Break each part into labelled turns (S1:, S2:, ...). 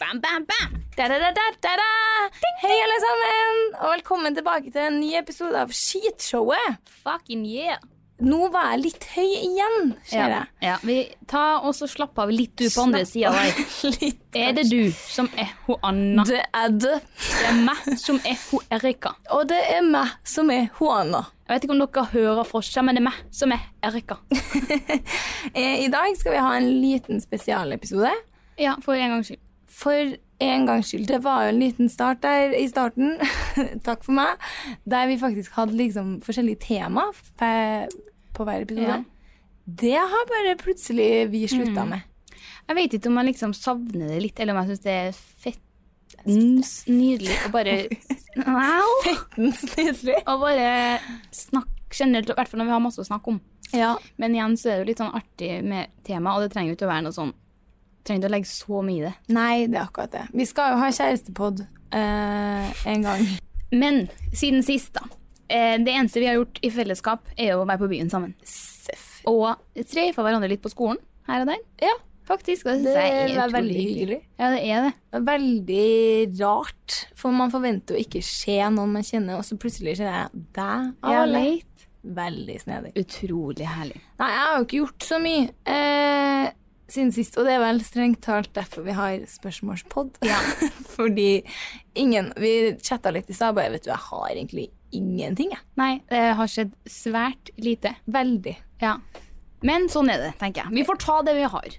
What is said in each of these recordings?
S1: Bam, bam, bam!
S2: Da-da-da-da-da! Hei, alle sammen, og velkommen tilbake til en ny episode av Skitshowet.
S1: Fucking yeah!
S2: Nå var jeg litt høy igjen, ser
S1: Ja,
S2: jeg.
S1: ja. Vi tar og så slapp av litt du på andre sida der.
S2: Litt.
S1: Er det du som er hun Anna?
S2: Det er det.
S1: Det er meg som er hun Erika.
S2: Og det er meg som er Huana.
S1: Jeg vet ikke om dere hører forskjell, men det er meg som er Erika.
S2: Eh, I dag skal vi ha en liten spesialepisode.
S1: Ja, for en gangs skyld.
S2: For en gangs skyld. Det var jo en liten start der i starten. Takk for meg. Der vi faktisk hadde liksom forskjellige tema pe- på hver episode.
S1: Ja. Mm.
S2: Det har bare plutselig vi slutta med.
S1: Jeg vet ikke om jeg liksom savner det litt, eller om jeg syns det er fett ns- nydelig å bare Wow!
S2: Nydelig.
S1: Å bare snakke generelt, i hvert fall når vi har masse å snakke om.
S2: Ja.
S1: Men igjen så er det jo litt sånn artig med tema, og det trenger jo ikke å være noe sånn Trenger ikke å legge så mye i det.
S2: Nei, det er akkurat det. Vi skal jo ha kjærestepod eh, en gang.
S1: Men siden sist, da. eh, Det eneste vi har gjort i fellesskap, er jo å være på byen sammen.
S2: Seff.
S1: Og tre for hverandre litt på skolen her og der.
S2: Ja,
S1: Faktisk. Og det
S2: det
S1: synes jeg er
S2: var
S1: utrolig
S2: veldig
S1: hyggelig.
S2: hyggelig.
S1: Ja, det er det.
S2: Veldig rart, for man forventer jo ikke se noen man kjenner, og så plutselig kjenner jeg deg av alle.
S1: leit.
S2: Veldig snedig.
S1: Utrolig herlig.
S2: Nei, jeg har jo ikke gjort så mye eh, siden sist, og det er vel strengt talt derfor vi har spørsmålspod. Fordi ingen Vi chatta litt i stad, bare vet du, jeg har egentlig ingenting, jeg.
S1: Nei, det har skjedd svært lite.
S2: Veldig.
S1: Ja. Men sånn er det, tenker jeg. Vi får ta det vi har.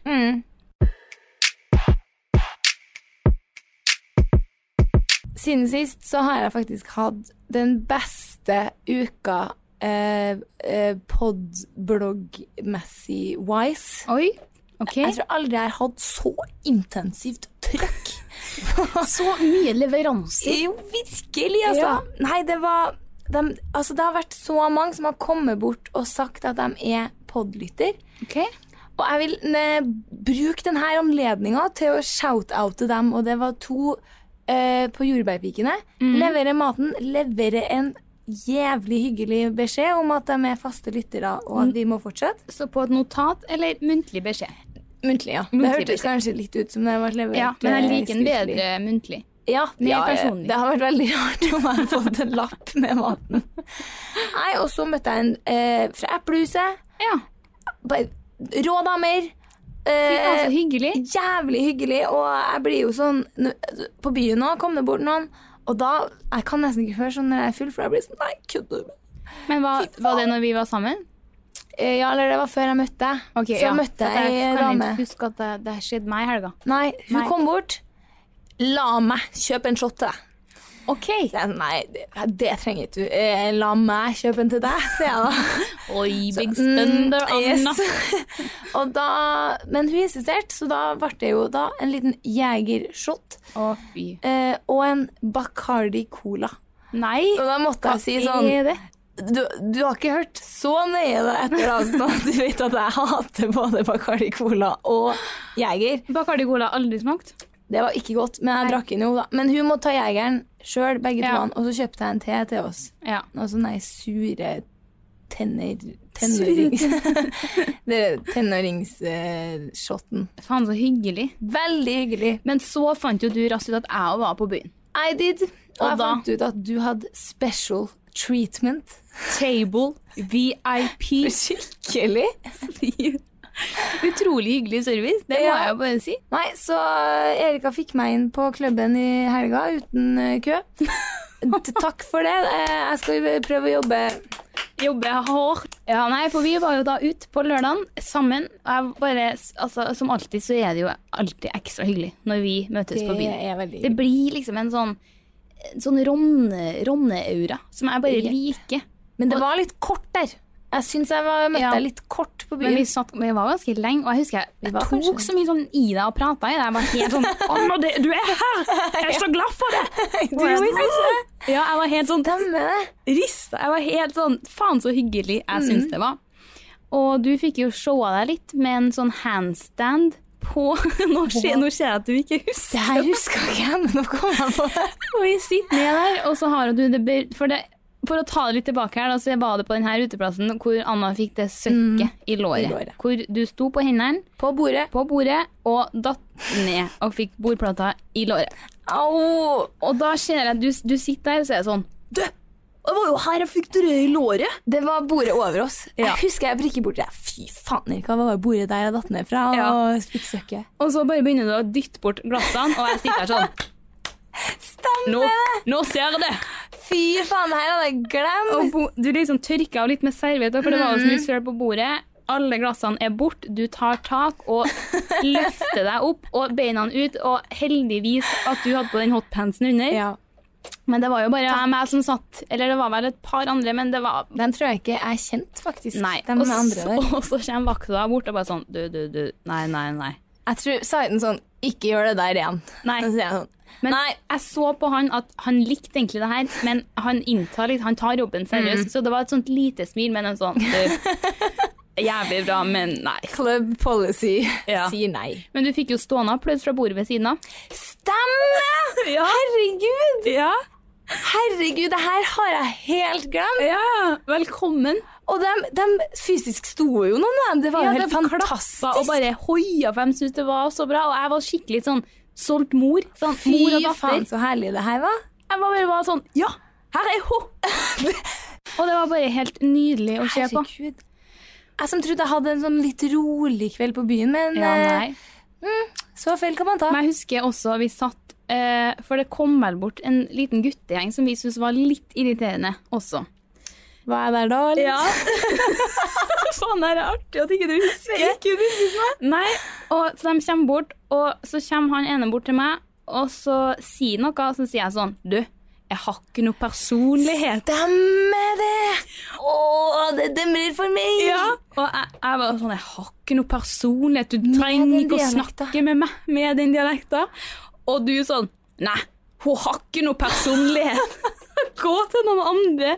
S2: Siden sist så har jeg faktisk hatt den beste uka eh, eh, podblogg-messig wise.
S1: Oi. Ok.
S2: Jeg tror aldri jeg har hatt så intensivt trøkk.
S1: Så mye leveranser.
S2: Jo, virkelig, altså.
S1: Ja.
S2: Nei, det var dem- altså, Det har vært så mange som har kommet bort og sagt at de er podlytter.
S1: Ok.
S2: Og jeg vil ne, bruke denne anledninga til å shout-oute dem. Og det var to eh, på Jordbærpikene.
S1: Mm.
S2: Levere maten, levere en jævlig hyggelig beskjed om at de er faste lyttere, og
S1: Mm.
S2: at vi må fortsette.
S1: Så på et notat eller muntlig beskjed?
S2: Muntlig, ja. det
S1: Muntlig
S2: hørtes kanskje litt ut som det ble levert
S1: Ja, men jeg
S2: eh,
S1: liker den
S2: skriftlig.
S1: bedre muntlig.
S2: Ja,
S1: Mer
S2: ja,
S1: personlig.
S2: Det har vært veldig rart om jeg har fått en lapp med maten. Nei, og så møtte jeg en eh, fra Eplehuset.
S1: Ja.
S2: Bare Rå damer.
S1: Fy faen, så
S2: Eh,
S1: hyggelig.
S2: jævlig hyggelig. Og jeg blir jo sånn nå- På byen nå kom det bort noen, og da Jeg kan nesten ikke høre sånn når jeg er full, for jeg blir sånn Nei, kødder du?
S1: Men
S2: med meg?»
S1: hva,
S2: faen.
S1: var det når vi var sammen?
S2: Eh, Ja, eller det var før jeg møtte deg.
S1: Ok,
S2: så
S1: ja. For
S2: møtte
S1: at
S2: jeg ei
S1: kan
S2: dame.
S1: ikke huske at det, det her skjedde meg i helga.
S2: Nei, hun
S1: Nei.
S2: kom bort. La meg kjøpe en shot til deg.
S1: Ok.
S2: Nei, Nei, det, det trenger ikke du. Eh, La meg kjøpe en til deg, sier jeg da.
S1: Oi, big
S2: Mm,
S1: spender, Anna.
S2: yes. Og da men hun insisterte, så da ble det jo da en liten jegershot
S1: Å, fy.
S2: eh, og en Bacardi Cola.
S1: Nei.
S2: Og da måtte jeg si sånn
S1: Er det?
S2: du, du har ikke hørt så nøye det etter avstand at du vet at jeg hater både Bacardi Cola og Jeger.
S1: Bacardi Cola har aldri smakt.
S2: Det var ikke godt, men jeg
S1: Nei.
S2: drakk den jo, da. Men hun må ta Jegeren sjøl, begge
S1: Ja.
S2: to. Og så kjøpte jeg en te til oss.
S1: Ja.
S2: Noe sånn nei, sure tenner... Tenåring. det er tenåringsshoten.
S1: Faen, så hyggelig.
S2: Veldig hyggelig.
S1: Men så fant jo du raskt ut at jeg òg var på byen.
S2: I did. Og,
S1: Og
S2: jeg
S1: da?
S2: fant ut at du hadde special treatment.
S1: Table VIP.
S2: Skikkelig.
S1: Utrolig hyggelig service. Det må
S2: Ja.
S1: jeg jo bare si.
S2: Nei, så eh, Erika fikk meg inn på klubben i helga uten eh, kø. T- Takk for det. Eh, Jeg skal prøve å jobbe.
S1: Jobbe hardt. Ja, nei, for vi var jo da ute på lørdagen sammen. Og jeg bare, altså, som alltid så er det jo alltid ekstra hyggelig når vi møtes på byen.
S2: veldig
S1: Det blir liksom en sånn en sånn ronne- ronne-aura som jeg bare
S2: Jepp.
S1: liker.
S2: Men det var litt kort der. Jeg syns jeg var, møtte
S1: Ja.
S2: deg litt kort på
S1: Men
S2: byen.
S1: vi, satt, men vi var ganske lenge, og jeg husker jeg, jeg
S2: var
S1: tok
S2: kanskje-
S1: så mye sånn i deg og prata i deg. Jeg var helt sånn Anna, det, du er her! Jeg er så glad for det!
S2: Du gjorde det.
S1: Ja, jeg var helt sånn
S2: Stemmer det.
S1: rista. Jeg var helt sånn Faen, så hyggelig jeg syns det var. Og du fikk jo showa deg litt med en sånn handstand på Nå ser, nå ser jeg at du ikke husker.
S2: Det her husker ikke jeg, men nå kom jeg på det.
S1: Og vi sitter ned der, og så har du det be- For det for å ta det litt tilbake her, da, så var det på denne uteplassen hvor Anna fikk det søkket Mm. i, låret,
S2: I låret.
S1: Hvor du sto på hendene
S2: På bordet.
S1: på bordet og datt ned og fikk bordplata i låret.
S2: Au!
S1: Og da ser jeg at du, du sitter der, så er det sånn
S2: Du! Det var jo her jeg fikk det røde i låret. Det var bordet over oss.
S1: Ja.
S2: Jeg husker jeg prikker borti det. Fy faen, Erika, det var bordet der jeg datt ned fra.
S1: Ja.
S2: Og fikk søkket.
S1: Og så bare begynner du å dytte bort glassene, og jeg sitter her sånn Nå,
S2: Stemmer!
S1: nå ser jeg det!
S2: Fy faen, det her hadde jeg glemt.
S1: Og bo, du liksom tørker av litt med servietter, for det var jo
S2: Mm.
S1: så mye søl på bordet. Alle glassene er borte, du tar tak og løfter deg opp og beina ut. Og heldigvis at du hadde på den hotpantsen under.
S2: Ja.
S1: Men det var jo bare meg som satt, eller det var vel et par andre, men det var
S2: Den tror jeg ikke er kjent, faktisk.
S1: Nei.
S2: De
S1: Og
S2: andre
S1: så,
S2: der.
S1: og så kommer vakta bort og bare sånn Du, du, du. Nei, nei, nei.
S2: Jeg tror sa den sånn Ikke gjør det der igjen.
S1: Nei.
S2: Da sier jeg sånn
S1: Men
S2: Nei.
S1: jeg så på han at han likte egentlig det her, men han inntar litt, han tar jobben seriøst.
S2: Mm.
S1: Så det var et sånt lite smil, men en sånn du, Jævlig bra, men nei.
S2: Club policy
S1: Ja.
S2: sier nei.
S1: Men du fikk jo stående applaus fra bordet ved siden av.
S2: Stemmer! Herregud!
S1: Ja,
S2: Herregud, det her har jeg helt glemt.
S1: velkommen.
S2: Og de, fysisk sto jo noen av dem. Det var
S1: Ja,
S2: jo
S1: de
S2: helt
S1: klappa og
S2: fantastisk.
S1: bare hoia, for de syntes det var så bra. Og jeg var skikkelig sånn solgt mor. Sånn, mor og
S2: Fy
S1: datter.
S2: faen, så herlig det her var.
S1: Jeg var bare var sånn Ja, her er hun! og det var bare helt nydelig å se på.
S2: Herregud. Jeg som trodde jeg hadde en sånn litt rolig kveld på byen, men
S1: Ja,
S2: eh,
S1: nei.
S2: så feil kan man ta.
S1: Men jeg husker også vi satt eh, For det kom vel bort en liten guttegjeng som vi syntes var litt irriterende også.
S2: Hva er det der da? eller?
S1: Faen, det er artig at ikke du husker. Nei, og så de kommer bort, og så kommer han ene bort til meg, og så sier noe, og så sier jeg sånn Du, jeg har ikke noe personlighet.
S2: Stemmer det! Å, det demrer for meg!
S1: Og jeg, jeg var sånn Jeg har ikke noe personlighet. Du trenger
S2: den
S1: ikke å
S2: dialekta.
S1: snakke med meg med den dialekta. Og du sånn Nei, hun har ikke noe personlighet. Gå til noen andre.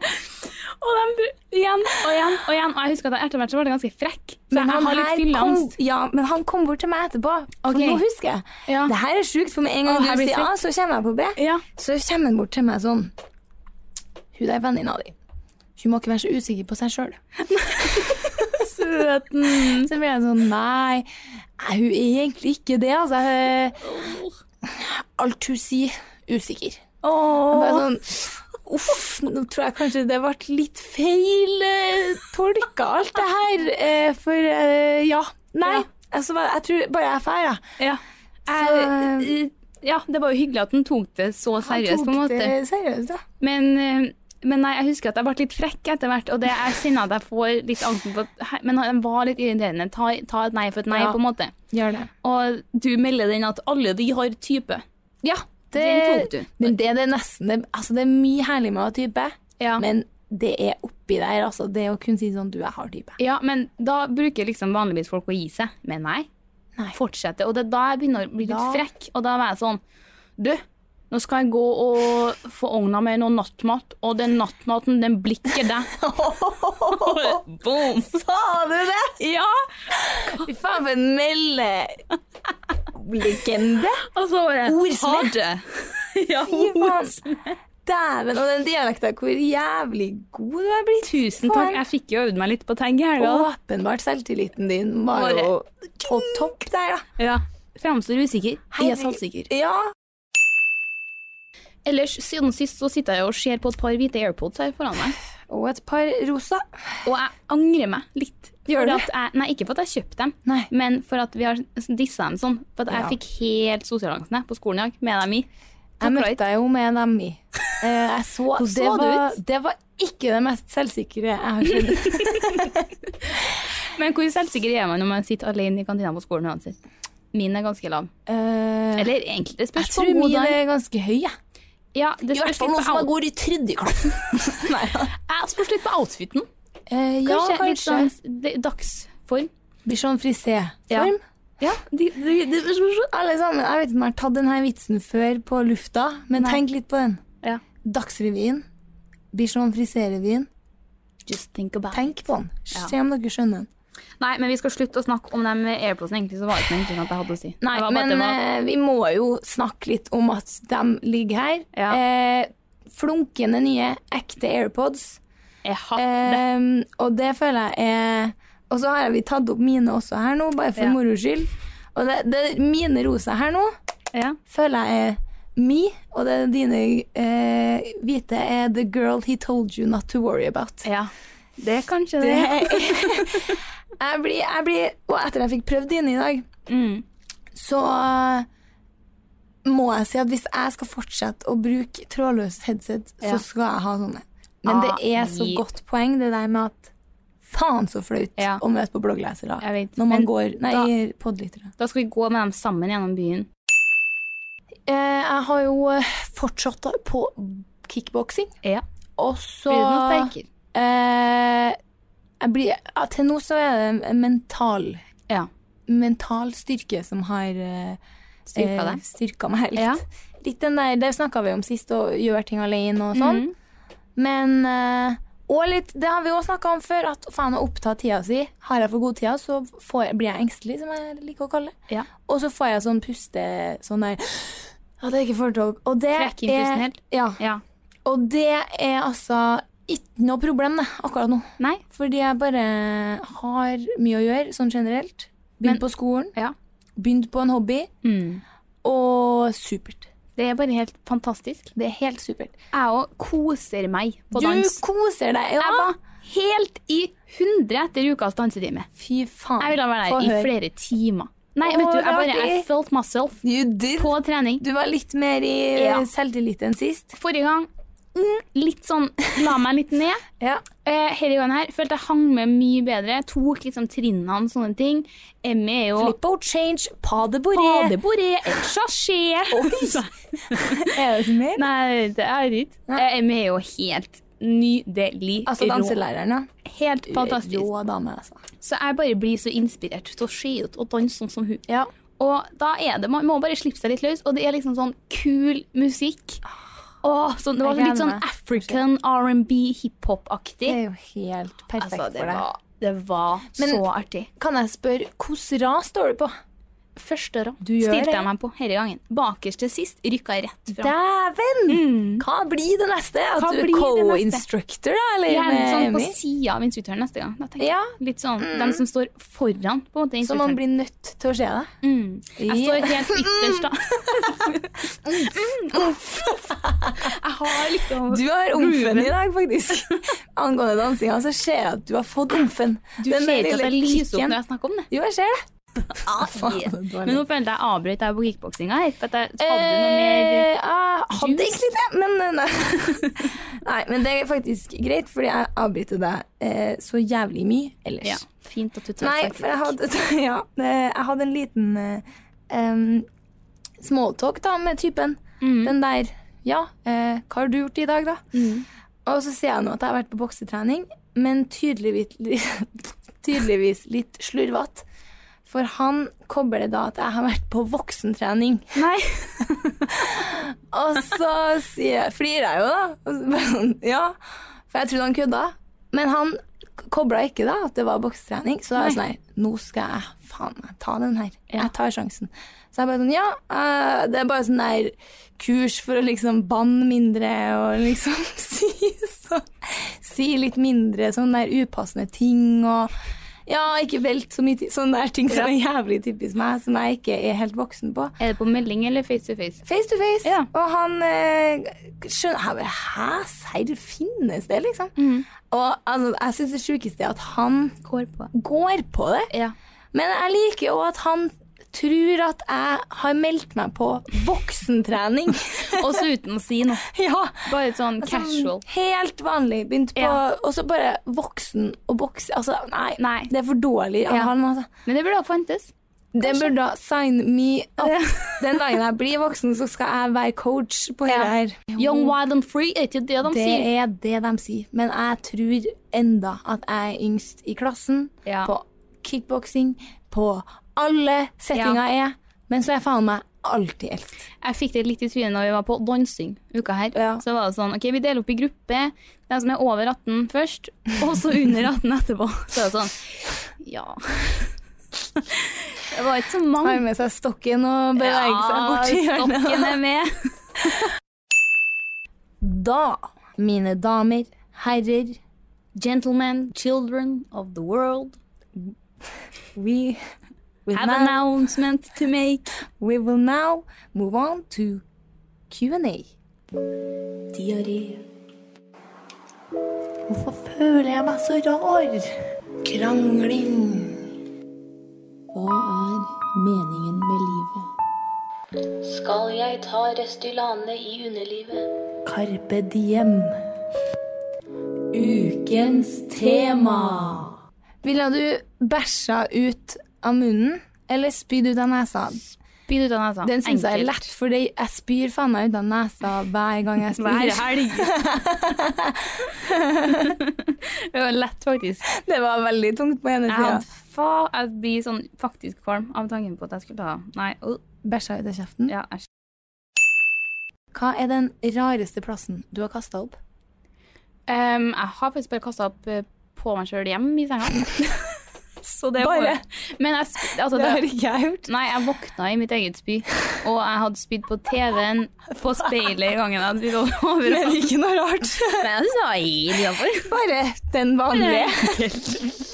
S1: Og de br- igjen og igjen og igjen. Og jeg husker at jeg etter hvert så ble jeg ganske frekk. Så
S2: Men
S1: jeg
S2: han,
S1: har
S2: her
S1: litt
S2: kom,
S1: fylleangst.
S2: ja, men han kom bort til meg etterpå, for
S1: Ok.
S2: nå husker jeg.
S1: Ja.
S2: Det her er sjukt, for med en gang
S1: Å, her
S2: du
S1: blir
S2: sier
S1: det
S2: A, så kommer jeg på B.
S1: Ja.
S2: Så kommer han bort til meg sånn Hun der venninna di, hun må ikke være så usikker på seg sjøl.
S1: Søten.
S2: Så blir jeg sånn Nei, nei, hun er egentlig ikke det, altså. Eh, Alt hun sier, usikker. Og Bare sånn Uff, nå tror jeg kanskje det ble litt feil eh, tolka, alt det her. Eh, for eh, ja. Nei.
S1: Ja.
S2: Altså, bare- jeg tror bare jeg er feil, jeg.
S1: Ja.
S2: Så-
S1: Jeg, ja, det var jo hyggelig at han tok det så
S2: Han
S1: seriøst, på en
S2: tok
S1: måte.
S2: det seriøst, da.
S1: Men, eh, men nei, jeg husker at jeg ble litt frekk etter hvert, og det jeg kjenner at jeg får litt angsten for at he- Men han var litt irriterende. Ta, ta et nei for et nei,
S2: Ja.
S1: på en måte.
S2: Gjør det.
S1: Og du melder den at alle de har type.
S2: Ja,
S1: Den tok du.
S2: Men det, det er nesten det, altså, det er mye herlig med å ha type,
S1: Ja. Men,
S2: men det er oppi der, altså. Det å kunne si sånn Du, jeg har type.
S1: ja, men da bruker liksom vanligvis folk å gi seg. Men nei.
S2: Nei.
S1: Fortsette. Og det er da jeg begynner å bli litt
S2: Ja.
S1: frekk, og da var jeg sånn Du, nå skal jeg gå og få ogna meg noe nattmat, og den nattmaten, den blikker deg. Boom!
S2: Sa du det?!
S1: Ja!
S2: Fy faen, for en melde... Legende!
S1: Og så bare
S2: Ordsmed.
S1: Ha det! ja,
S2: Fy faen.
S1: ordsmed.
S2: Dæven, og den dialekta, hvor jævlig god du er blitt.
S1: Tusen takk. Jeg fikk jo øvd meg litt på tang i helga.
S2: Åpenbart selvtilliten din var
S1: Bare-
S2: jo på topp der, da.
S1: Ja. Framstår usikker. Jeg er saltsikker.
S2: Ja.
S1: Ellers, siden sist så sitter jeg og ser på et par hvite AirPods her foran meg,
S2: Og et par rosa.
S1: og jeg angrer meg litt.
S2: Gjør
S1: Fordi
S2: du?
S1: at jeg, nei, ikke for at jeg kjøpte dem,
S2: Nei.
S1: men for at vi har dissa dem sånn. For at jeg
S2: Ja.
S1: fikk helt sosialangsten jeg på skolen i dag med dem i.
S2: Jeg
S1: Takk, Lloyd.
S2: møtte deg jo med dem i. Eh, Jeg så,
S1: Hvordan
S2: det
S1: så du
S2: var,
S1: ut?
S2: Det var ikke det mest selvsikre jeg har sett.
S1: Men hvor selvsikker er man når man sitter alene i kantina på skolen uansett? Min er ganske lav.
S2: Eh,
S1: Eller egentlig, det
S2: Jeg
S1: spørs på
S2: tror
S1: god
S2: min
S1: dag.
S2: er ganske høy, jeg.
S1: Ja, det spørs litt på out-
S2: går i tredje klassen. Nei, ja.
S1: Jeg spørs litt på outfiten.
S2: Eh, ja,
S1: Kanskje,
S2: kanskje.
S1: litt sånn s- d- dagsform.
S2: Blir sånn frisé-form.
S1: Ja, de, de, de,
S2: Alle sammen, Jeg vet ikke om jeg har tatt denne vitsen før på lufta, men tenk litt på den.
S1: Ja.
S2: Dagsrevyen. Bichon Frisé-revyen.
S1: Just think about it.
S2: Tenk på den.
S1: Ja.
S2: Se om dere skjønner den.
S1: Nei, men vi skal slutte å snakke om dem med airpodsene. Egentlig så var det ikke noe interessant jeg hadde å si.
S2: Nei,
S1: det var bare
S2: men
S1: at det var,
S2: eh, vi må jo snakke litt om at de ligger her.
S1: Ja.
S2: Eh, flunkende nye, ekte AirPods.
S1: Jeg har det.
S2: Ehm, og det føler jeg er Og så har vi tatt opp mine også her nå, bare for
S1: Ja.
S2: moro skyld. Og det, det er mine rosa her nå
S1: Ja.
S2: føler jeg er me, og det er dine eh, hvite er the girl he told you not to worry about.
S1: ja. Det er kanskje
S2: Det
S1: det.
S2: er, jeg blir, jeg blir, og etter jeg fikk prøvd dine i dag,
S1: Mm.
S2: så må jeg si at hvis jeg skal fortsette å bruke trådløst headset,
S1: Ja.
S2: så skal jeg ha sånne. Men det er så
S1: Ah, i-
S2: godt poeng, det der med at faen så flaut
S1: Ja.
S2: å møte på blogglesere
S1: Jeg vet.
S2: når man
S1: Men
S2: går Nei,
S1: da-
S2: podlyttere.
S1: da skal vi gå med dem sammen gjennom byen.
S2: Eh, jeg har jo eh, fortsatt da på kickboksing.
S1: Ja.
S2: Og så
S1: Blir det noe sterkere?
S2: eh, jeg blir, ja, Til nå så er det en mental,
S1: Ja.
S2: mental styrke som har eh,
S1: Styrka
S2: eh,
S1: deg.
S2: styrka meg litt.
S1: Ja.
S2: litt den der, det snakka vi om sist, å gjøre ting alene og sånn.
S1: Mhm.
S2: Men eh, og litt, det har vi òg snakka om før, at faen å oppta tida si. Har jeg for god tida, så får, jeg- blir jeg engstelig, som jeg liker å kalle det.
S1: Ja.
S2: Og så får jeg sånn puste Sånn der At jeg ikke får tog. Og det
S1: Trekk inn pusten
S2: er
S1: helt.
S2: Ja.
S1: Ja.
S2: Og det er altså ikke noe problem, det, akkurat nå.
S1: Nei.
S2: Fordi jeg bare har mye å gjøre, sånn generelt. Begynt
S1: Men-
S2: på skolen,
S1: Ja.
S2: begynt på en hobby,
S1: Mm.
S2: og supert.
S1: Det er bare helt fantastisk.
S2: Det er helt supert.
S1: Jeg òg koser meg på
S2: du
S1: dans.
S2: koser deg,
S1: Jeg
S2: ja!
S1: var helt i hundre etter ukas dansetime.
S2: Fy faen.
S1: Jeg ville ha vært
S2: Få
S1: der i
S2: høre.
S1: flere timer. Nei,
S2: Å,
S1: vet du, jeg
S2: det var
S1: bare I
S2: artig.
S1: felt myself
S2: You did.
S1: på trening.
S2: Du var litt mer i
S1: Ja.
S2: selvtillit enn sist.
S1: Forrige gang mm, litt sånn la meg litt ned.
S2: Ja.
S1: Eh, Denne gangen her følte jeg hang med mye bedre. Tok liksom trinnene og sånne ting. Emmy er jo
S2: Flip out change, pas de bourré.
S1: Badeboré, et sasjé
S2: Er det så mer?
S1: Nei, det er ikke.
S2: Nei.
S1: Eh, Emmy er jo helt nydelig.
S2: Altså
S1: rå.
S2: danselæreren, ja.
S1: Helt fantastisk.
S2: Rå dame, altså.
S1: Så jeg bare blir så inspirert til å se ut og danse sånn som hun.
S2: Ja.
S1: Og da er det, man må bare slippe seg litt løs, og det er liksom sånn kul musikk. Åh, sånn, det var
S2: Ah, Jeg
S1: litt sånn
S2: gleder meg.
S1: African R&B hiphop-aktig.
S2: Det er jo helt perfekt
S1: Altså, det
S2: for deg.
S1: var, det var
S2: Men-
S1: så artig.
S2: Kan jeg spørre, hvilken ras står du på?
S1: Første rad
S2: Du gjør
S1: stilte
S2: det.
S1: jeg meg på hele gangen. Bakerst til sist rykka jeg rett fram.
S2: Dæven!
S1: Mm.
S2: Hva blir det neste? At
S1: Hva
S2: du er
S1: blir det
S2: co-instructor, da? Eller
S1: Gjerne
S2: med
S1: sånn på
S2: Emmy?
S1: sida av instruktøren neste gang. Da tenker jeg.
S2: Ja,
S1: Litt sånn, Dem som står foran på en måte
S2: så man
S1: instruktøren.
S2: blir nødt til å se det.
S1: Mm. Jeg
S2: Ja.
S1: står helt ytterst, da. Mm, Jeg har liksom
S2: Du har omfen
S1: Grooven.
S2: i dag, faktisk. Angående dansinga, så ser jeg at du har fått omfen.
S1: Du ser ikke at jeg lyser opp når jeg snakker om det.
S2: Jo, jeg ser det.
S1: yes.
S2: det var
S1: Ah, Men nå
S2: litt-
S1: følte jeg avbrøt deg på kickboksinga her. For at jeg hadde noe mer
S2: Eh, jeg hadde
S1: juice?
S2: egentlig det, men eh, nei. nei. Men det er faktisk greit, fordi jeg avbryter deg eh, så jævlig mye ellers.
S1: ja, Fint at du tar
S2: Nei,
S1: seg
S2: for jeg hadde, ja, eh, jeg hadde en liten eh, em, smalltalk da, med typen.
S1: Mm.
S2: Den der Ja, eh, hva har du gjort i dag, da?
S1: Mm.
S2: Og så sier jeg nå at jeg har vært på boksetrening, men tydeligvis, tydeligvis litt slurvete. For han kobler da at jeg har vært på voksentrening.
S1: Nei.
S2: Og så sier jeg, flirer jeg jo, da. Og så bare sånn, ja, For jeg trodde han kødda. Men han k- kobla ikke da at det var boksetrening. Så da var jeg sånn, nei, nå skal jeg faen meg ta den her.
S1: Ja.
S2: Jeg tar sjansen. Så jeg bare sånn, ja, eh, det er bare sånn der kurs for å liksom banne mindre og liksom si så, Si litt mindre sånn der upassende ting og ja, ikke velt så mye ti- sånne der ting som er jævlig typisk meg, som jeg ikke er helt voksen på.
S1: Er det på melding eller face to face?
S2: Face to face.
S1: Ja.
S2: Og han eh, skjønner jeg bare, Hæ, serr, finnes det, liksom?
S1: Mm.
S2: Og altså, jeg syns det sjukeste er at han
S1: Går på.
S2: går på det.
S1: Ja.
S2: Men jeg liker jo at han tror at jeg har meldt meg på voksentrening.
S1: Også uten å si noe.
S2: ja.
S1: Bare sånn
S2: Sånn
S1: casual.
S2: helt vanlig. Begynt på
S1: Ja.
S2: Og så bare voksen og bokse. Altså, nei,
S1: Nei.
S2: Det er for dårlig av
S1: Ja.
S2: han. Altså.
S1: Men det burde ha fantes.
S2: Den burde da sign me up.
S1: Ja.
S2: Den dagen jeg blir voksen, så skal jeg være coach på det
S1: Ja.
S2: her.
S1: Young, wild and free er ikke det de
S2: Det
S1: sier.
S2: er det de sier. Men jeg tror enda at jeg er yngst i klassen.
S1: Ja.
S2: På kickboksing, på alle settinger jeg er. Men så er jeg faen meg alltid eldst.
S1: Jeg fikk det litt i trynet når vi var på dansing uka her.
S2: Ja.
S1: Så var det sånn, ok, vi deler opp i gruppe. De som er over 18 først, og så under 18 etterpå. Så er det sånn, ja. Det var ikke så mange.
S2: Har med seg stokken og beveger seg bort i
S1: Ja,
S2: hjørnet.
S1: stokken er med.
S2: da, mine damer, herrer,
S1: Gentlemen, children of the world,
S2: we will,
S1: have
S2: now,
S1: announcement to make.
S2: we will now move on to Q&A.
S3: Diaré.
S2: Hvorfor føler jeg meg så rar? Krangling.
S3: Hva er meningen med livet?
S4: Skal jeg ta Restylane i underlivet?
S2: Carpe diem.
S3: Ukens tema.
S2: Ville du bæsja ut av munnen eller spyd ut av nesa?
S1: Spyd ut av nesa.
S2: Den syns jeg er
S1: Enkelt.
S2: lett, for jeg spyr faen meg ut av nesa hver gang jeg
S1: Hver
S2: spyr.
S1: helg. det var lett, faktisk.
S2: Det var veldig tungt på ene
S1: Jeg,
S2: sida.
S1: hadde fa jeg blir sånn faktisk kvalm av tanken på at jeg skulle ta Nei, uh,
S2: Bæsja ut av kjeften.
S1: ja, æsj.
S2: Hva er den rareste plassen du har kasta opp?
S1: Em, jeg har faktisk bare kasta opp eh, på meg sjøl hjem i senga. Så det
S2: Bare?
S1: var- Men jeg, sp- altså, det,
S2: ikke jeg gjort.
S1: Nei, jeg våkna i mitt eget spy, og jeg hadde spydd på TV-en, på speilet i gangen jeg hadde spydd over- overalt.
S2: ikke noe rart.
S1: Men jeg synes det var helt innenfor.
S2: Bare den vanlige.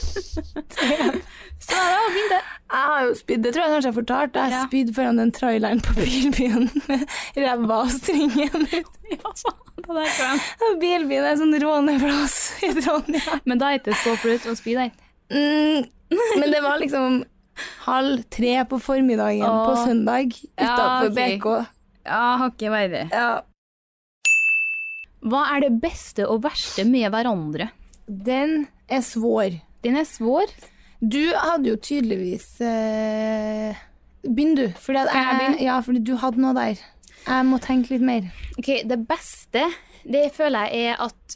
S1: Så det var fint, det.
S2: Jeg har jo spydd, det tror jeg kanskje jeg fortalte. Jeg
S1: Ja.
S2: har spydd foran den traileren på bilbyen med ræva og stringen ut.
S1: Ja, faen, det der tror jeg.
S2: Bilbyen er en sånn råneplass i Trondheim.
S1: Men da er det ikke så flaut å spy der.
S2: Mm, men det var liksom halv tre på formiddagen
S1: Åh.
S2: på søndag
S1: Ja,
S2: utafor
S1: ok.
S2: BK.
S1: Ja, har ikke verre.
S2: Ja,
S1: Hva er det beste og verste med hverandre?
S2: den er svår.
S1: Den er svår.
S2: Du hadde jo tydeligvis eh, Begynn, du. Fordi at
S1: Skal jeg begynne?
S2: Ja, fordi du hadde noe der. Jeg må tenke litt mer.
S1: Ok, det beste, det føler jeg er at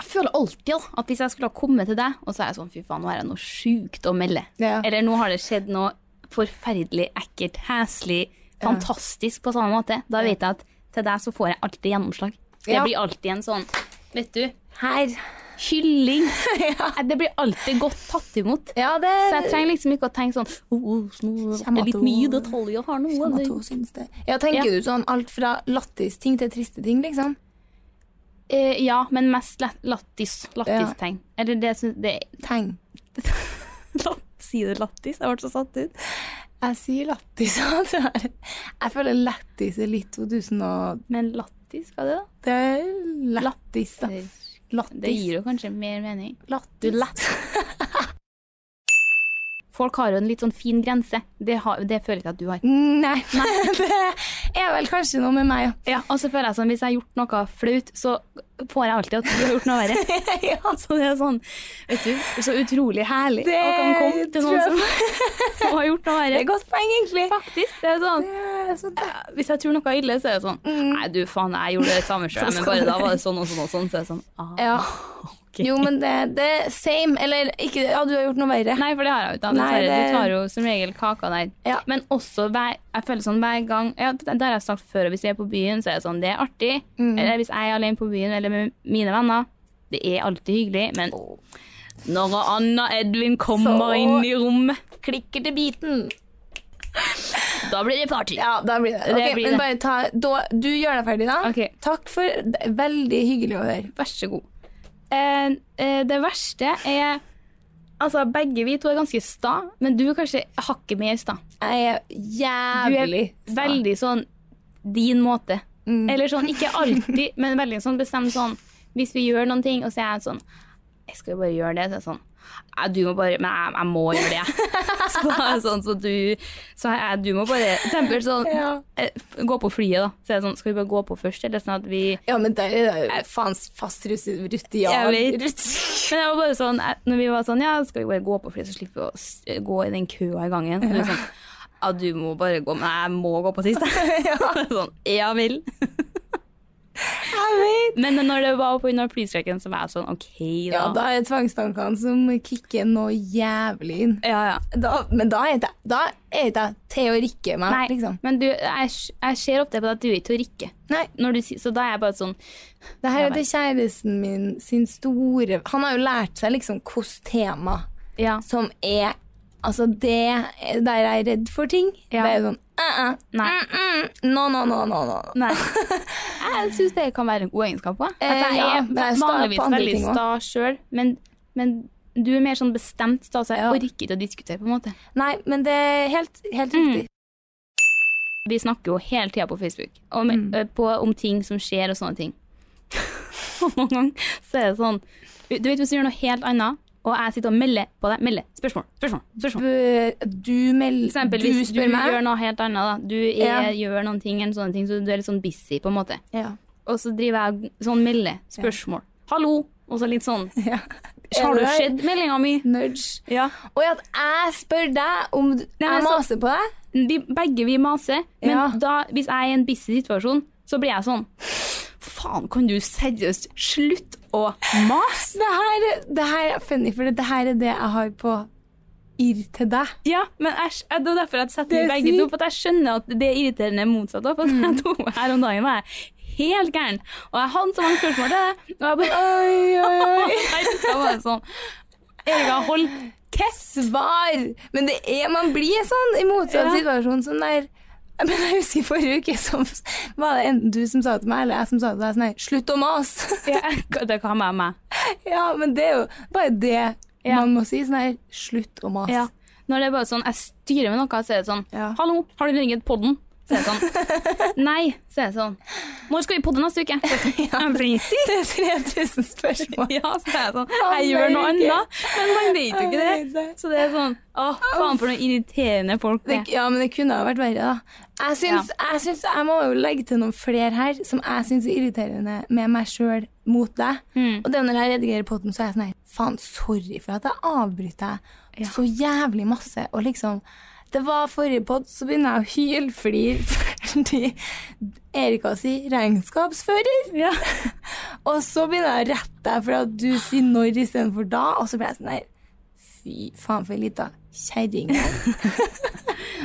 S1: jeg føler alltid da, at hvis jeg skulle ha kommet til deg, og så er jeg sånn, fy faen, nå er det noe sjukt å melde.
S2: Ja.
S1: Eller nå har det skjedd noe forferdelig ekkelt, heslig, fantastisk på samme måte. Da vet jeg at til deg så får jeg alltid gjennomslag. Det
S2: Ja.
S1: blir alltid en sånn, vet du,
S2: Her.
S1: kylling. Det blir alltid godt tatt imot.
S2: Ja, det
S1: Så jeg trenger liksom ikke å tenke sånn, oh, oh, nå er det
S2: Kjem at
S1: litt
S2: hun-
S1: mye detaljer her nå.
S2: Om
S1: eller?»
S2: at hun syns det. Ja, tenker
S1: Ja.
S2: du sånn alt fra lattis ting til triste ting, liksom?
S1: Eh, ja, men mest lat- lattis. Lattistegn. Eller det syns det
S2: Tegn.
S1: Sier du lattis? Jeg ble så satt ut.
S2: Jeg sier lattis. tror jeg. Jeg føler lattis er litt 2000 og
S1: Men lattis, hva er det, da?
S2: Det er lattis, da.
S1: Det, det
S2: Lattis.
S1: gir jo kanskje mer mening.
S2: Lattis.
S1: Folk har jo en litt sånn fin grense. Det, har, det føler jeg ikke at du har.
S2: Nei, det er vel kanskje noe med meg,
S1: Og så føler jeg sånn, hvis jeg har gjort noe flaut, så får jeg alltid at du har gjort noe verre.
S2: ja.
S1: Så det er sånn, vet du, så utrolig herlig
S2: Det
S1: at han kom til
S2: tror jeg
S1: noen som, som har gjort noe
S2: Det er
S1: verre.
S2: et godt poeng, egentlig.
S1: Faktisk, det er sånn.
S2: Det er sånn-
S1: Hvis jeg tror noe er ille, så er det sånn
S2: Mm.
S1: Nei, du faen, jeg gjorde det samme sjøl, men bare da var det sånn og sånn og sånn. Så er det sånn ah.
S2: Ja. Jo, men det, det er same. Eller ikke Ja, du har gjort noe verre.
S1: Nei, for det har jeg jo ikke.
S2: Nei,
S1: dessverre.
S2: det-
S1: Du tar jo som regel kaka der.
S2: Ja.
S1: Men også hver, jeg føler sånn hver gang ja, Det det har jeg sagt før, og hvis jeg er på byen, så er det sånn Det er artig.
S2: Mm.
S1: Eller hvis jeg er alene på byen eller med mine venner. Det er alltid hyggelig, men når Anna Edvin kommer
S2: Så-
S1: inn i rommet,
S2: Klikker til biten.
S1: da blir det party.
S2: Mm. Ja, da blir det. Ok,
S1: blir det.
S2: men bare ta, da, du gjør deg ferdig, da.
S1: Ok.
S2: Takk for det er Veldig hyggelig å høre.
S1: Vær så god. Eh, eh, det verste er Altså, begge vi to er ganske sta, men du er kanskje hakket mer sta.
S2: Jeg er
S1: Du er
S2: jævlig sta.
S1: veldig sånn din måte.
S2: Mm.
S1: Eller sånn, ikke alltid, men veldig sånn bestemt sånn Hvis vi gjør noen ting, og så er jeg sånn Jeg skal jo bare gjøre det. Så er jeg sånn «Nei, du må bare Men jeg, jeg må gjøre det, jeg. Så, er jeg sånn, så du Så er jeg, du må bare for eksempel sånn
S2: Ja.
S1: eh, Gå på flyet, da. Så er det sånn Skal vi bare gå på først, eller sånn at vi
S2: Ja, men der er det jo faen fast rutial.
S1: Jeg vet. Men jeg var bare sånn eh, Når vi var sånn Ja, skal vi bare gå på flyet, så slipper vi å s- gå i den køa i gangen. Eller sånn Ja, du må bare gå, men jeg må gå på sist, jeg. Sånn Ja vel.
S2: Jeg vet.
S1: Men når det var på under flystreiken, så var jeg sånn OK, da.
S2: Ja, da er det tvangstankene som kicker noe jævlig inn.
S1: ja, ja.
S2: Da, men da er det da er det til å rikke meg,
S1: Nei,
S2: liksom.
S1: men du, jeg, jeg ser ofte på deg at du er ikke å rikke.
S2: Nei,
S1: Når du, sier- så da er jeg bare sånn
S2: det her
S1: Ja
S2: er til kjæresten min sin store Han har jo lært seg liksom hvilket tema
S1: Ja.
S2: som er Altså, det er der jeg er redd for ting.
S1: Ja.
S2: «Ah, Det er jo sånn uh -uh,
S1: Nei.
S2: Mm, mm, no, no, no, no, no.
S1: Nei. Jeg syns det kan være en god egenskap òg.
S2: Eh,
S1: Altså, jeg
S2: ja,
S1: er
S2: men jeg er sta på
S1: vanligvis
S2: andre
S1: veldig
S2: ting også.
S1: sta sjøl, men, men du er mer sånn bestemt sta, så jeg
S2: Ja.
S1: orker ikke å diskutere, på en måte.
S2: Nei, men det er helt, helt riktig.
S1: Vi snakker jo hele tida på Facebook om,
S2: Mm.
S1: eh, på, om ting som skjer og sånne ting. Og noen ganger så er det sånn Du vet hvis du gjør noe helt annet, og jeg sitter og melder på deg Melder. Spørsmål. Spørsmål. spørsmål.
S2: B- Du, meld,
S1: For eksempel
S2: du
S1: hvis du
S2: spør meg.
S1: gjør noe helt annet, da. Du er,
S2: Ja.
S1: gjør noen ting, eller sånne ting, så du er litt sånn busy, på en måte.
S2: Ja.
S1: Og så driver jeg sånn melde. Spørsmål. Hallo! Og så litt sånn
S2: Ja.
S1: Har du
S2: Er det-
S1: sett meldinga mi?
S2: Nudge.
S1: Ja.
S2: Og at jeg spør deg om du,
S1: Nei,
S2: jeg
S1: men så-
S2: maser på deg.
S1: Vi, begge vi maser, men
S2: Ja.
S1: da, hvis jeg er i en busy situasjon, så blir jeg sånn Faen, kan du seriøst slutte å mase?
S2: Det her, det her er funny, for det her er det jeg har på irr til deg.
S1: Ja, men jeg, skj- det er Mm. derfor jeg setter
S2: Det er
S1: meg begge to,
S2: sykt.
S1: for at jeg skjønner at det er irriterende motsatt. også, For at jeg tok meg her om dagen var jeg helt gæren, og jeg hadde så mange spørsmål til deg, og jeg bare
S2: Oi, oi, oi.
S1: Jeg var sånn Erika, hold
S2: Svar! Men det er, man blir sånn i motsatt
S1: Ja.
S2: situasjon. Sånn der, men jeg husker forrige uke som, var det enten du som sa til meg, eller jeg som sa til deg sånn her Slutt å mase!
S1: ja, Det kan være meg.
S2: ja, men det er jo bare det
S1: Ja.
S2: man må si. Sånn her Slutt å mase.
S1: Ja. Når det er bare sånn, jeg styrer med noe, så er det sånn
S2: Ja.
S1: 'Hallo, har du ringet podden?' Så er det sånn. Nei, så er det sånn. 'Når skal vi podde neste uke?' Så er det sånn, «Jeg vet ikke».
S2: Det er 3000 spørsmål.
S1: Ja, så er det sånn.
S2: Faen,
S1: Jeg gjør noe
S2: det er
S1: annet, men man vet jo ikke
S2: Jeg vet
S1: det.
S2: det.
S1: Så det er sånn Å, faen for noen irriterende folk det
S2: Det, ja, men det kunne ha vært verre, da. Jeg syns, jeg syns jeg må jo legge til noen flere her som jeg syns er irriterende med meg sjøl mot deg.
S1: Mm.
S2: Og det er når jeg redigerer podden så er jeg sånn her Faen, sorry for at jeg avbryter deg så jævlig masse. Og liksom Det var forrige pod, så begynner jeg å hylflire fordi Erika sier 'regnskapsfører'.
S1: Ja.
S2: Og så begynner jeg å rette deg for at du sier 'når' istedenfor 'da', og så blir jeg sånn her Fy faen, for ei lita kjerring.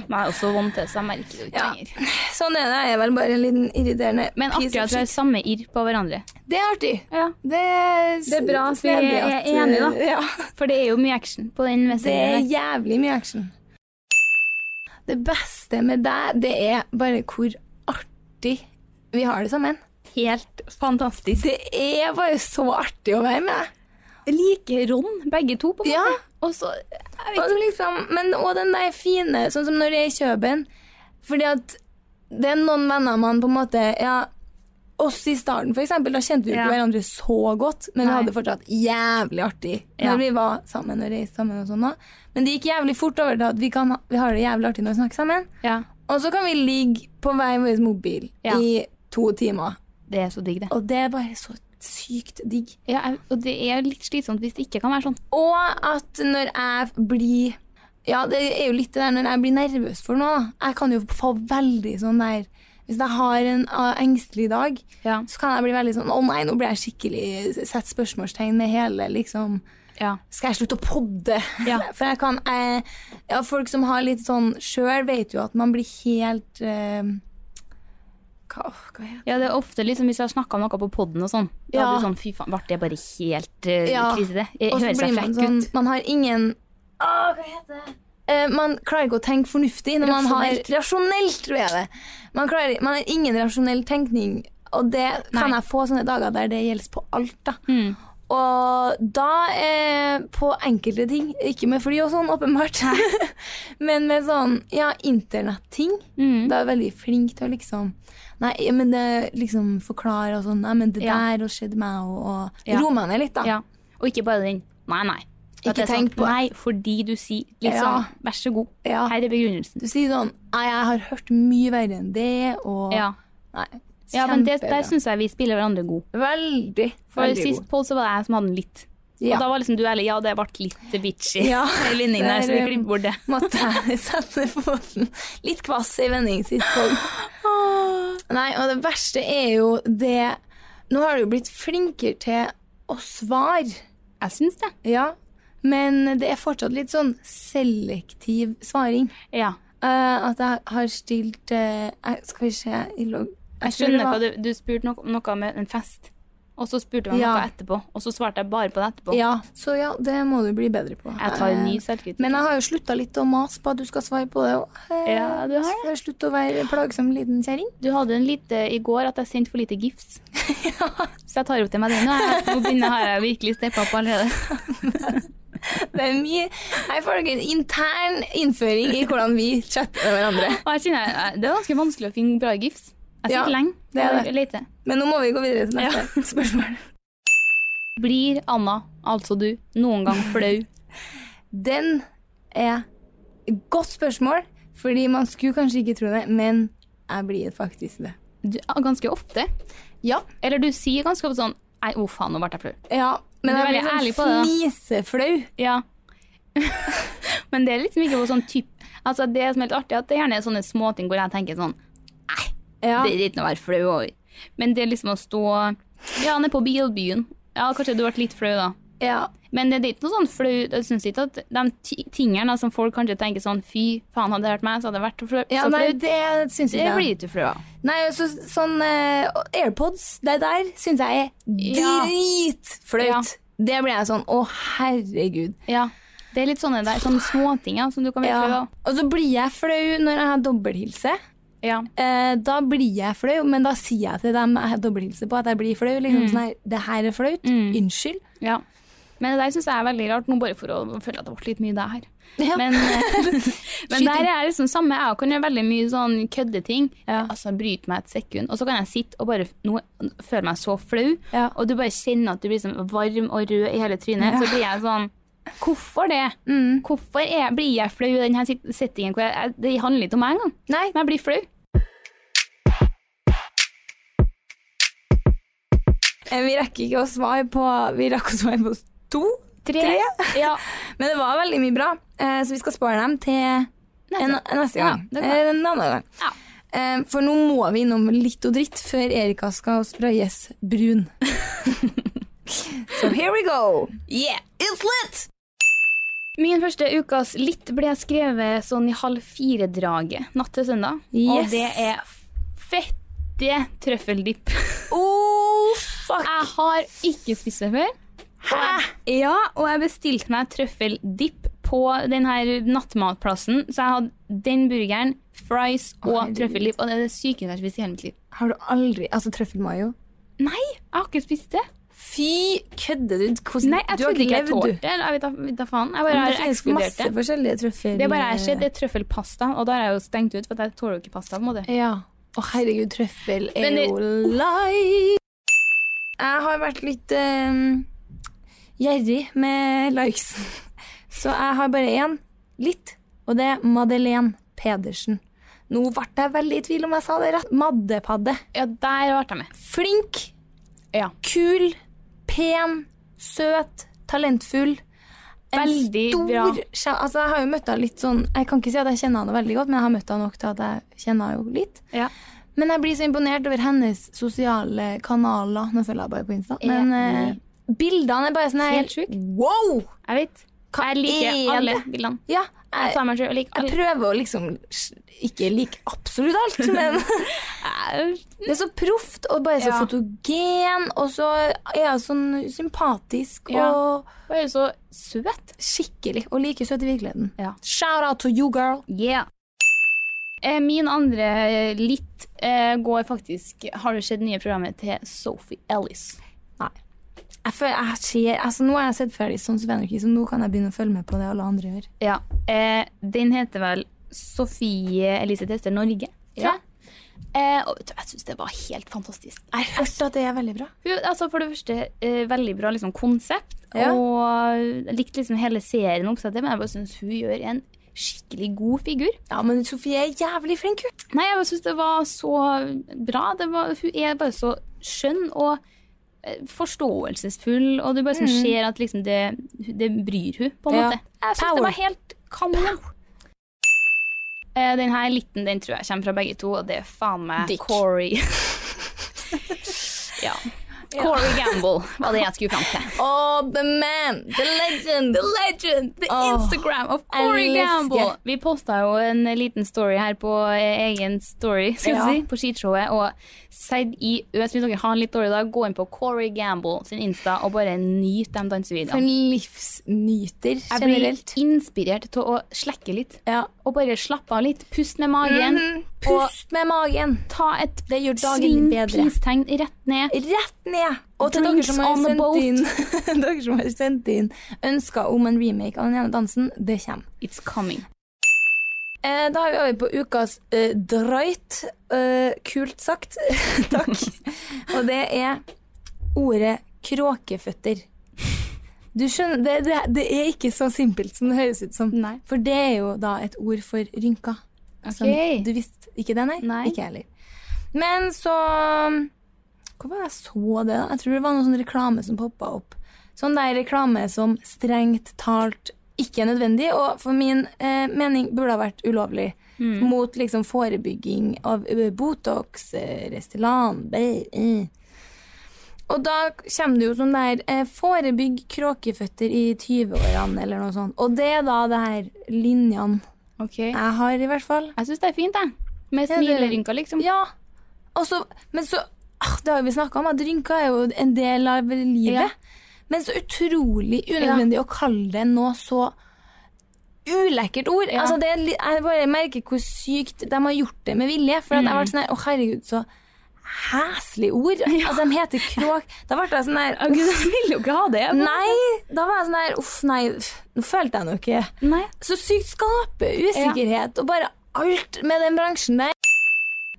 S1: Men jeg er også vant til det, så jeg merker det jo ikke
S2: Ja.
S1: lenger.
S2: Sånn er det. Jeg er vel bare en liten irriterende
S1: Men
S2: piece
S1: artig
S2: of
S1: at vi har
S2: shit.
S1: samme irr på hverandre.
S2: Det er artig.
S1: Ja.
S2: Det er,
S1: Det er bra at vi
S2: snedig
S1: er
S2: at- eh,
S1: enige, da.
S2: Ja.
S1: For det er jo mye action på den
S2: Det er
S1: messengeren.
S2: jævlig mye action. Det beste med deg, det er bare hvor artig vi har det sammen.
S1: der. Helt fantastisk.
S2: Det er bare så artig å være med deg.
S1: Like Ron, begge to, på en måte.
S2: Ja.
S1: Og så jeg vet
S2: Og så liksom, men også den der fine, sånn som når jeg er i Kjøben. Fordi at det er noen venner man på en måte ja, Oss i starten, for eksempel, da kjente vi jo ikke
S1: Ja.
S2: hverandre så godt, men vi
S1: Nei.
S2: hadde fortsatt jævlig artig når
S1: Ja.
S2: vi var sammen og reiste sammen. og sånn da. Men det gikk jævlig fort over til at vi, kan, ha- vi har det jævlig artig når vi snakker sammen.
S1: Ja,
S2: Og så kan vi ligge på hver vår mobil
S1: Ja.
S2: i to timer.
S1: det er så digg, det.
S2: Og det er bare så sykt digg.
S1: Ja, jeg- og det er litt slitsomt hvis det ikke kan være sånn.
S2: Og at når jeg blir Ja, det er jo litt det der når jeg blir nervøs for noe. da. Jeg kan jo få veldig sånn der Hvis jeg har en ah, engstelig dag,
S1: Ja.
S2: så kan jeg bli veldig sånn Å nei, nå blir jeg skikkelig Sett spørsmålstegn med hele liksom
S1: Ja.
S2: skal jeg slutte å podde?
S1: Ja.
S2: For jeg kan, eh, ja, folk som har litt sånn sjøl, vet jo at man blir helt eh, hva, hva heter det?
S1: det er ofte liksom hvis jeg har snakka om noe på poden og sånn. Da
S2: Ja.
S1: er du sånn fy faen, ble det bare helt uh,
S2: Ja.
S1: krise, det? Jeg
S2: Og så
S1: hører seg
S2: blir man
S1: flekk
S2: sånn
S1: ut.
S2: Man har ingen Åh, hva heter det? Eh, man klarer ikke å tenke fornuftig når man har
S1: Rasjonelt.
S2: Rasjonelt, tror jeg det. Man, klarer, man har ingen rasjonell tenkning, og det kan
S1: Nei.
S2: jeg få sånne dager der det gjelder på alt. da.
S1: Mm.
S2: Og da eh, på enkelte ting, ikke med fly og sånn, åpenbart, men med sånn ja, internetting.
S1: Mm.
S2: Da er jeg veldig flink til å liksom Nei, men det liksom forklare og sånn. Nei, men det
S1: Ja.
S2: der og skjedde meg, og, og
S1: Ja.
S2: roe meg ned litt, da.
S1: Ja. Og ikke bare den nei, nei.
S2: Ikke
S1: At det er sånn,
S2: tenk på-
S1: Nei, fordi du sier litt
S2: Ja.
S1: sånn vær så god,
S2: Ja.
S1: her er begrunnelsen.
S2: Du sier sånn Nei, jeg har hørt mye verre enn det, og
S1: Ja.
S2: Nei,
S1: ja men det,
S2: kjempebra.
S1: der syns jeg vi spiller hverandre god.
S2: Veldig,
S1: For
S2: veldig
S1: sist
S2: god.
S1: poll så var det jeg som hadde den litt.
S2: Ja.
S1: Og da var liksom du ærlig. Ja, det ble litt bitchy.
S2: Ja.
S1: i vendingen der, så vi
S2: Der,
S1: klipper bort det.
S2: Måtte jeg sette foten litt kvass i vending sist gang. Nei, og det verste er jo det Nå har du jo blitt flinkere til å svare,
S1: Jeg syns det.
S2: ja. Men det er fortsatt litt sånn selektiv svaring.
S1: Ja.
S2: Eh, at jeg har stilt eh, jeg- Skal vi se i logg
S1: Jeg skjønner hva du, du spurte noe, noe med en fest. Og så spurte de om
S2: Ja.
S1: noe etterpå, og så svarte jeg bare på det etterpå.
S2: Ja, så ja, det må du bli bedre på.
S1: Jeg tar en ny
S2: Eh,
S1: selvkritikk.
S2: Men jeg har jo slutta litt å mase på at du skal svare på det òg.
S1: Ja, du har det.
S2: Slutt å være plagsom liten kjerring.
S1: Du hadde en lite i går at jeg sendte for lite gifts. Så jeg tar jo til meg den. og jeg- Nå begynner har jeg virkelig steppa opp allerede.
S2: Det er mye Her får dere en intern innføring i hvordan vi chatter med hverandre.
S1: Og jeg kjenner, jeg- det er ganske vanskelig å finne bra gifts. Jeg
S2: Ja,
S1: sitter lenge
S2: det er
S1: og
S2: det.
S1: leter.
S2: Men nå må vi gå videre til neste spørsmål.
S1: Blir Anna, altså du, noen gang flau?
S2: Den er et godt spørsmål, fordi man skulle kanskje ikke tro det, men jeg blir faktisk det.
S1: Du, ganske ofte.
S2: Ja.
S1: Eller du sier ganske ofte sånn Nei, oh, faen, nå ble jeg flau.
S2: ja men
S1: Du er veldig
S2: jeg blir
S1: ærlig på
S2: sånn
S1: det,
S2: fniseflau.
S1: Ja. Men det er liksom ikke på sånn typ Altså Det som er litt artig, er at det gjerne er sånne småting hvor jeg tenker sånn
S2: Ja.
S1: Det er ikke noe å være flau over. Men det er liksom å stå Ja, nede på bilbyen. Ja, kanskje du ble litt flau, da.
S2: ja.
S1: Men det er ikke noe sånn flau Jeg syns ikke at de ti- tingene som folk kanskje tenker sånn Fy faen, hadde det vært meg, så hadde det vært flau.
S2: ja
S1: så
S2: nei,
S1: flau.
S2: det syns
S1: Det
S2: ikke jeg.
S1: blir ikke flau av.
S2: Nei, altså, sånn eh, AirPods, det der syns jeg er
S1: Ja.
S2: dritflaut.
S1: Ja.
S2: Det blir jeg sånn Å, herregud.
S1: Ja. Det er litt sånne der sånne småting ja, som du kan bli flau av.
S2: Og så blir jeg flau når jeg har dobbelthilse.
S1: Ja.
S2: Eh, da blir jeg flau, men da sier jeg til dem jeg har dobbelthilse på at jeg blir flau. Liksom sånn her, Det her er flaut. Unnskyld.
S1: ja. Men det der syns jeg er veldig rart, nå bare for å føle at det ble litt mye det her.
S2: Ja.
S1: Men,
S2: eh,
S1: men der er jeg liksom samme. Jeg kan gjøre veldig mye sånn køddeting.
S2: Ja.
S1: Altså, bryt meg et sekund. Og så kan jeg sitte og bare nå føle meg så flau.
S2: Ja.
S1: Og du bare kjenner at du blir sånn varm og rød i hele trynet. Så blir jeg sånn Hvorfor det?
S2: mm.
S1: Hvorfor er, blir jeg flau i denne settingen? Hvor jeg, jeg, det handler ikke om meg engang.
S2: Nei.
S1: Men jeg blir flau.
S2: Eh, Vi rekker ikke å svare på Vi rakk å svare på to.
S1: Tre. Ja.
S2: Men det var veldig mye bra, eh, så vi skal spare dem til
S1: Neste.
S2: En, neste
S1: Ja,
S2: gang.
S1: det kan
S2: Eh, en annen gang.
S1: Ja.
S2: Eh, for nå må vi innom litt og dritt før Erika skal sprayes brun. so here we go. Yeah, it's lit!
S1: Min første ukas litt ble skrevet sånn i halv fire-draget natt til søndag.
S2: Yes.
S1: Og det er fette trøffeldipp.
S2: Oh, fuck!
S1: Jeg har ikke spist det før. Hæ? Ja, og jeg bestilte meg trøffeldipp på den her nattmatplassen. Så jeg hadde den burgeren, fries og
S2: herregud.
S1: trøffeldipp. Og det er det sykeste jeg har spist i hele mitt liv.
S2: Har du aldri Altså, trøffelmayo.
S1: Nei, jeg har ikke spist det.
S2: Fy, kødder du? Hvordan,
S1: Nei, jeg
S2: du har
S1: trodde ikke jeg
S2: levd, du.
S1: tålte det. eller Jeg vet da- vet da faen. Jeg
S2: Men
S1: bare
S2: Det
S1: har
S2: finnes
S1: ekskludert
S2: masse
S1: det.
S2: forskjellige trøffel...
S1: Det er bare jeg ser, det er trøffelpasta, og da har jeg jo stengt ut, for at jeg tåler jo ikke pasta. på en måte.
S2: Ja. Å, herregud, trøffel er
S1: Men det-
S2: jo life! Jeg har vært litt ehm, gjerrig med likes. Så jeg har bare én. Litt. Og det er Madeleine Pedersen. Nå ble jeg veldig i tvil om jeg sa det rett. Maddepadde.
S1: Ja, der ble jeg med.
S2: Flink,
S1: Ja.
S2: kul, pen, søt, talentfull. En
S1: Veldig
S2: stor
S1: bra.
S2: skjæ- Altså, jeg har jo møtt henne litt sånn Jeg kan ikke si at jeg kjenner henne veldig godt, men jeg har møtt henne nok til at jeg kjenner henne jo litt.
S1: Ja.
S2: Men jeg blir så imponert over hennes sosiale kanaler. Nå følger jeg bare på Insta. Men eh,
S1: Enig.
S2: bildene er bare sånn her-
S1: Helt sjuk.
S2: Wow!
S1: Jeg vet. Jeg
S2: er
S1: liker alle
S2: det?
S1: bildene.
S2: Ja,
S1: Jeg
S2: jeg,
S1: tar meg selv og liker
S2: jeg
S1: alle.
S2: prøver å liksom s- ikke like absolutt alt, men det er så proft og bare så
S1: Ja.
S2: fotogen, og så er hun sånn sympatisk
S1: Ja.
S2: og
S1: Hun er jo så søt.
S2: skikkelig, og like søt i virkeligheten.
S1: Ja.
S2: Shout out to you, girl!
S1: Yeah. Eh, Min andre eh, litt eh, går faktisk Har du sett det nye programmet til Sophie Ellis?
S2: Jeg føler, jeg ser, altså, nå har jeg sett ferdig sånn som Henrik, så nå kan jeg begynne å følge med på det alle andre gjør.
S1: Ja. Eh, den heter vel Sofie Elise Tester Norge, tror
S2: Ja.
S1: jeg. Eh, og vet du, jeg syns det var helt fantastisk.
S2: Jeg har hørt at det er veldig bra.
S1: Hun, altså for det første, eh, veldig bra liksom, konsept.
S2: Ja.
S1: Og jeg likte liksom hele serien oppsettet, men jeg bare syns hun gjør en skikkelig god figur.
S2: Ja, men Sofie er jævlig flink, hun.
S1: Nei, jeg bare syns det var så bra. Det var, hun er bare så skjønn og eh, forståelsesfull, og du bare liksom ser at liksom det, det bryr hun på en
S2: Mm. Ja.
S1: måte. Jeg syns
S2: Power.
S1: det var helt kanon. Eh, Den her liten den tror jeg kommer fra begge to, og det er faen meg
S2: Dick.
S1: Corey. ja. Corey Gamble var det jeg skulle fram til.
S2: Oh, the man, the legend, the
S1: Legend! The
S2: Åh,
S1: Instagram of Corey
S2: elsker.
S1: Gamble! Vi posta jo en liten story her på eh, egen story, skal vi
S2: Ja.
S1: si, på skishowet. Og Seid i Øs, hvis dere har en litt dårlig dag, gå inn på Corey Gamble sin Insta og bare nyt de
S2: For en
S1: dansevideoene.
S2: livsnyter
S1: Jeg blir
S2: generelt.
S1: inspirert til å slekke litt.
S2: Ja.
S1: Og bare slappe av litt. Pust med magen.
S2: Mhm. Pust med magen.
S1: Ta et
S2: Det gjør dagen
S1: sving
S2: bedre.
S1: pristegn rett ned.
S2: Rett ned! Og til dere
S1: Drinks
S2: som, har
S1: on the boat.
S2: sendt inn, dere som har sendt inn ønsker om en remake av den ene dansen, det kommer.
S1: It's coming.
S2: Eh, da er vi over på ukas eh, drøyt. Eh, kult sagt. Takk. Og det er ordet kråkeføtter. Du skjønner, det, det, det er ikke så simpelt som det høres ut som.
S1: Nei.
S2: For det er jo da et ord for rynker. Som
S1: Ok.
S2: du visste ikke det, nei?
S1: Nei.
S2: Ikke jeg heller. Men så Hvor var det jeg så det? da? Jeg tror det var noen sånn reklame som poppa opp. Sånn der reklame som strengt talt ikke er nødvendig, og for min eh, mening burde ha vært ulovlig. Mot liksom forebygging av ø, Botox, eh, Restylane, bær, eh. Og da kommer det jo sånn der eh, Forebygg kråkeføtter i 20-årene, eller noe sånt. Og det er da det her linjene
S1: Ok.
S2: jeg har, i hvert fall.
S1: Jeg syns det er fint, jeg. Med
S2: Ja, det-
S1: smilerynker, liksom.
S2: Ja. Og så, men så ah, Det har vi snakka om, at rynker er jo en del av livet.
S1: Ja.
S2: Men så utrolig unødvendig å kalle det noe så ulekkert ord.
S1: Ja.
S2: Altså, det er, li- jeg bare merker hvor sykt de har gjort det med vilje. For at jeg ble sånn her Å, herregud, så heslig ord. At de heter kråk. Da ble jeg sånn her
S1: Å, Gud, jeg vil jo ikke ha det.
S2: Nei! Da var jeg sånn her Uff, nei. pff, Nå følte jeg nå ikke
S1: Nei.
S2: Så sykt skape usikkerhet og bare alt med den bransjen der.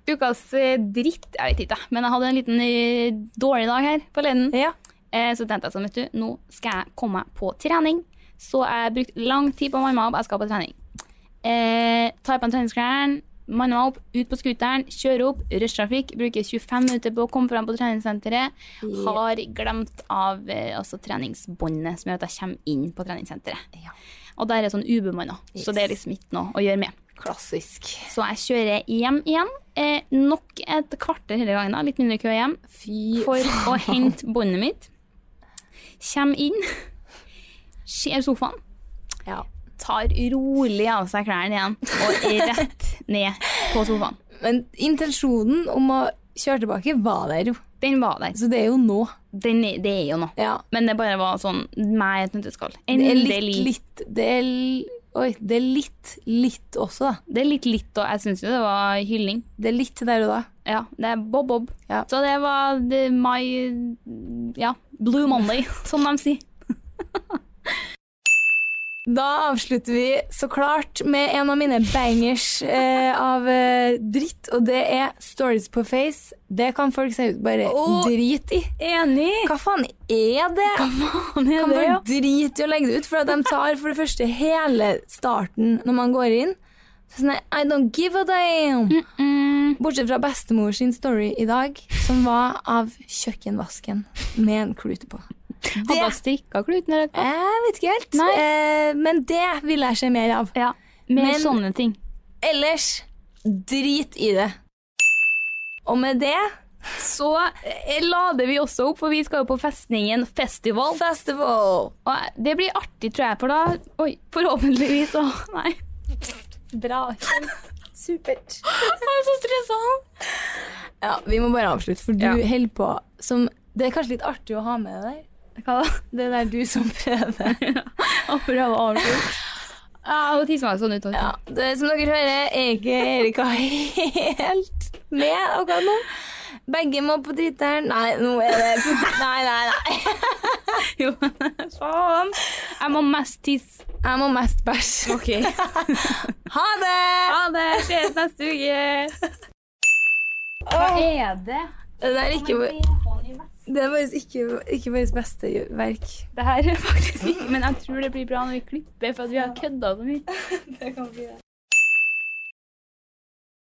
S1: Ukas eh, dritt Jeg vet ikke, jeg. men jeg hadde en liten eh, dårlig dag her forleden.
S2: Ja.
S1: Eh, Så tenkte jeg sånn, vet du, nå skal jeg komme meg på trening. Så jeg brukte lang tid på å manne meg opp. Jeg skal på trening. Eh, tar på en treningsklærne, manner meg opp, ut på scooteren, kjører opp, rushtrafikk. Bruker 25 minutter på å komme frem på treningssenteret. Har glemt av eh, altså, treningsbåndet som gjør at jeg kommer inn på treningssenteret.
S2: Ja.
S1: Og der er sånn ubemanna, så det er liksom ikke noe å gjøre med.
S2: Klassisk.
S1: Så jeg kjører hjem igjen. Eh, nok et kvarter hele gangen, da. litt mindre kø hjem,
S2: Fy
S1: for å hente båndet mitt. Kjem inn, ser sofaen,
S2: Ja.
S1: tar rolig av seg klærne igjen og rett ned på sofaen.
S2: Men intensjonen om å kjøre tilbake var der jo.
S1: Den var der.
S2: Så det er jo nå.
S1: Den, er- det er jo noe.
S2: Ja.
S1: Men det bare var sånn meg et nøtteskall.
S2: Det er
S1: Endelig.
S2: litt, litt det er, l- Oi, det er litt, litt også, da.
S1: Det er litt litt, og jeg syns jo det var hylling.
S2: Det er litt der og da.
S1: Ja, det er bob-bob.
S2: Ja.
S1: Så det var det, my Ja, blue Monday, som de sier.
S2: Da avslutter vi så klart med en av mine bangers eh, av eh, dritt, og det er stories på face. Det kan folk se ut bare
S1: Åh.
S2: drit i.
S1: Enig!
S2: Hva faen er det?
S1: Kan
S2: Kan
S1: det,
S2: bare
S1: ja.
S2: drite i å legge det ut, for at de tar for det første hele starten når man går inn. Så sånn her, I don't give a damn.
S1: Mm.
S2: Bortsett fra bestemor sin story i dag, som var av kjøkkenvasken med en klute på.
S1: Hadde jeg strikka kluten eller hva?
S2: Jeg vet ikke helt,
S1: Nei.
S2: eh, men det vil jeg se mer av.
S1: Ja. Mer
S2: Men-
S1: sånne ting.
S2: Ellers, drit i det. Og med det,
S1: Så eh, lader vi også opp, for vi skal jo på Festningen festival.
S2: festival.
S1: Og eh, det blir artig, tror jeg, for da Oi, forhåpentligvis så Nei. Bra.
S2: Supert.
S1: Jeg er så stressa.
S2: Ja, vi må bare avslutte, for du
S1: Ja.
S2: holder på som Det er kanskje litt artig å ha med deg.
S1: Hva da?
S2: Det er du som prøver.
S1: Å prøve å avslutte. Ja, og tisse meg sånn ut.
S2: Ja, det, som dere hører, er ikke Erika helt med akkurat nå. Begge må på dritteren. Nei, nå er det Nei, nei, nei.
S1: Jo. Faen. Jeg må mest tisse.
S2: Jeg må mest bæsj.
S1: OK.
S2: Ha det!
S1: Ha det. Ses neste uke. Hva er det?
S2: Det der er ikke Det er faktisk ikke, ikke vårt beste verk.
S1: Det her er faktisk ikke Men jeg tror det blir bra når vi klipper, for at vi har kødda så mye.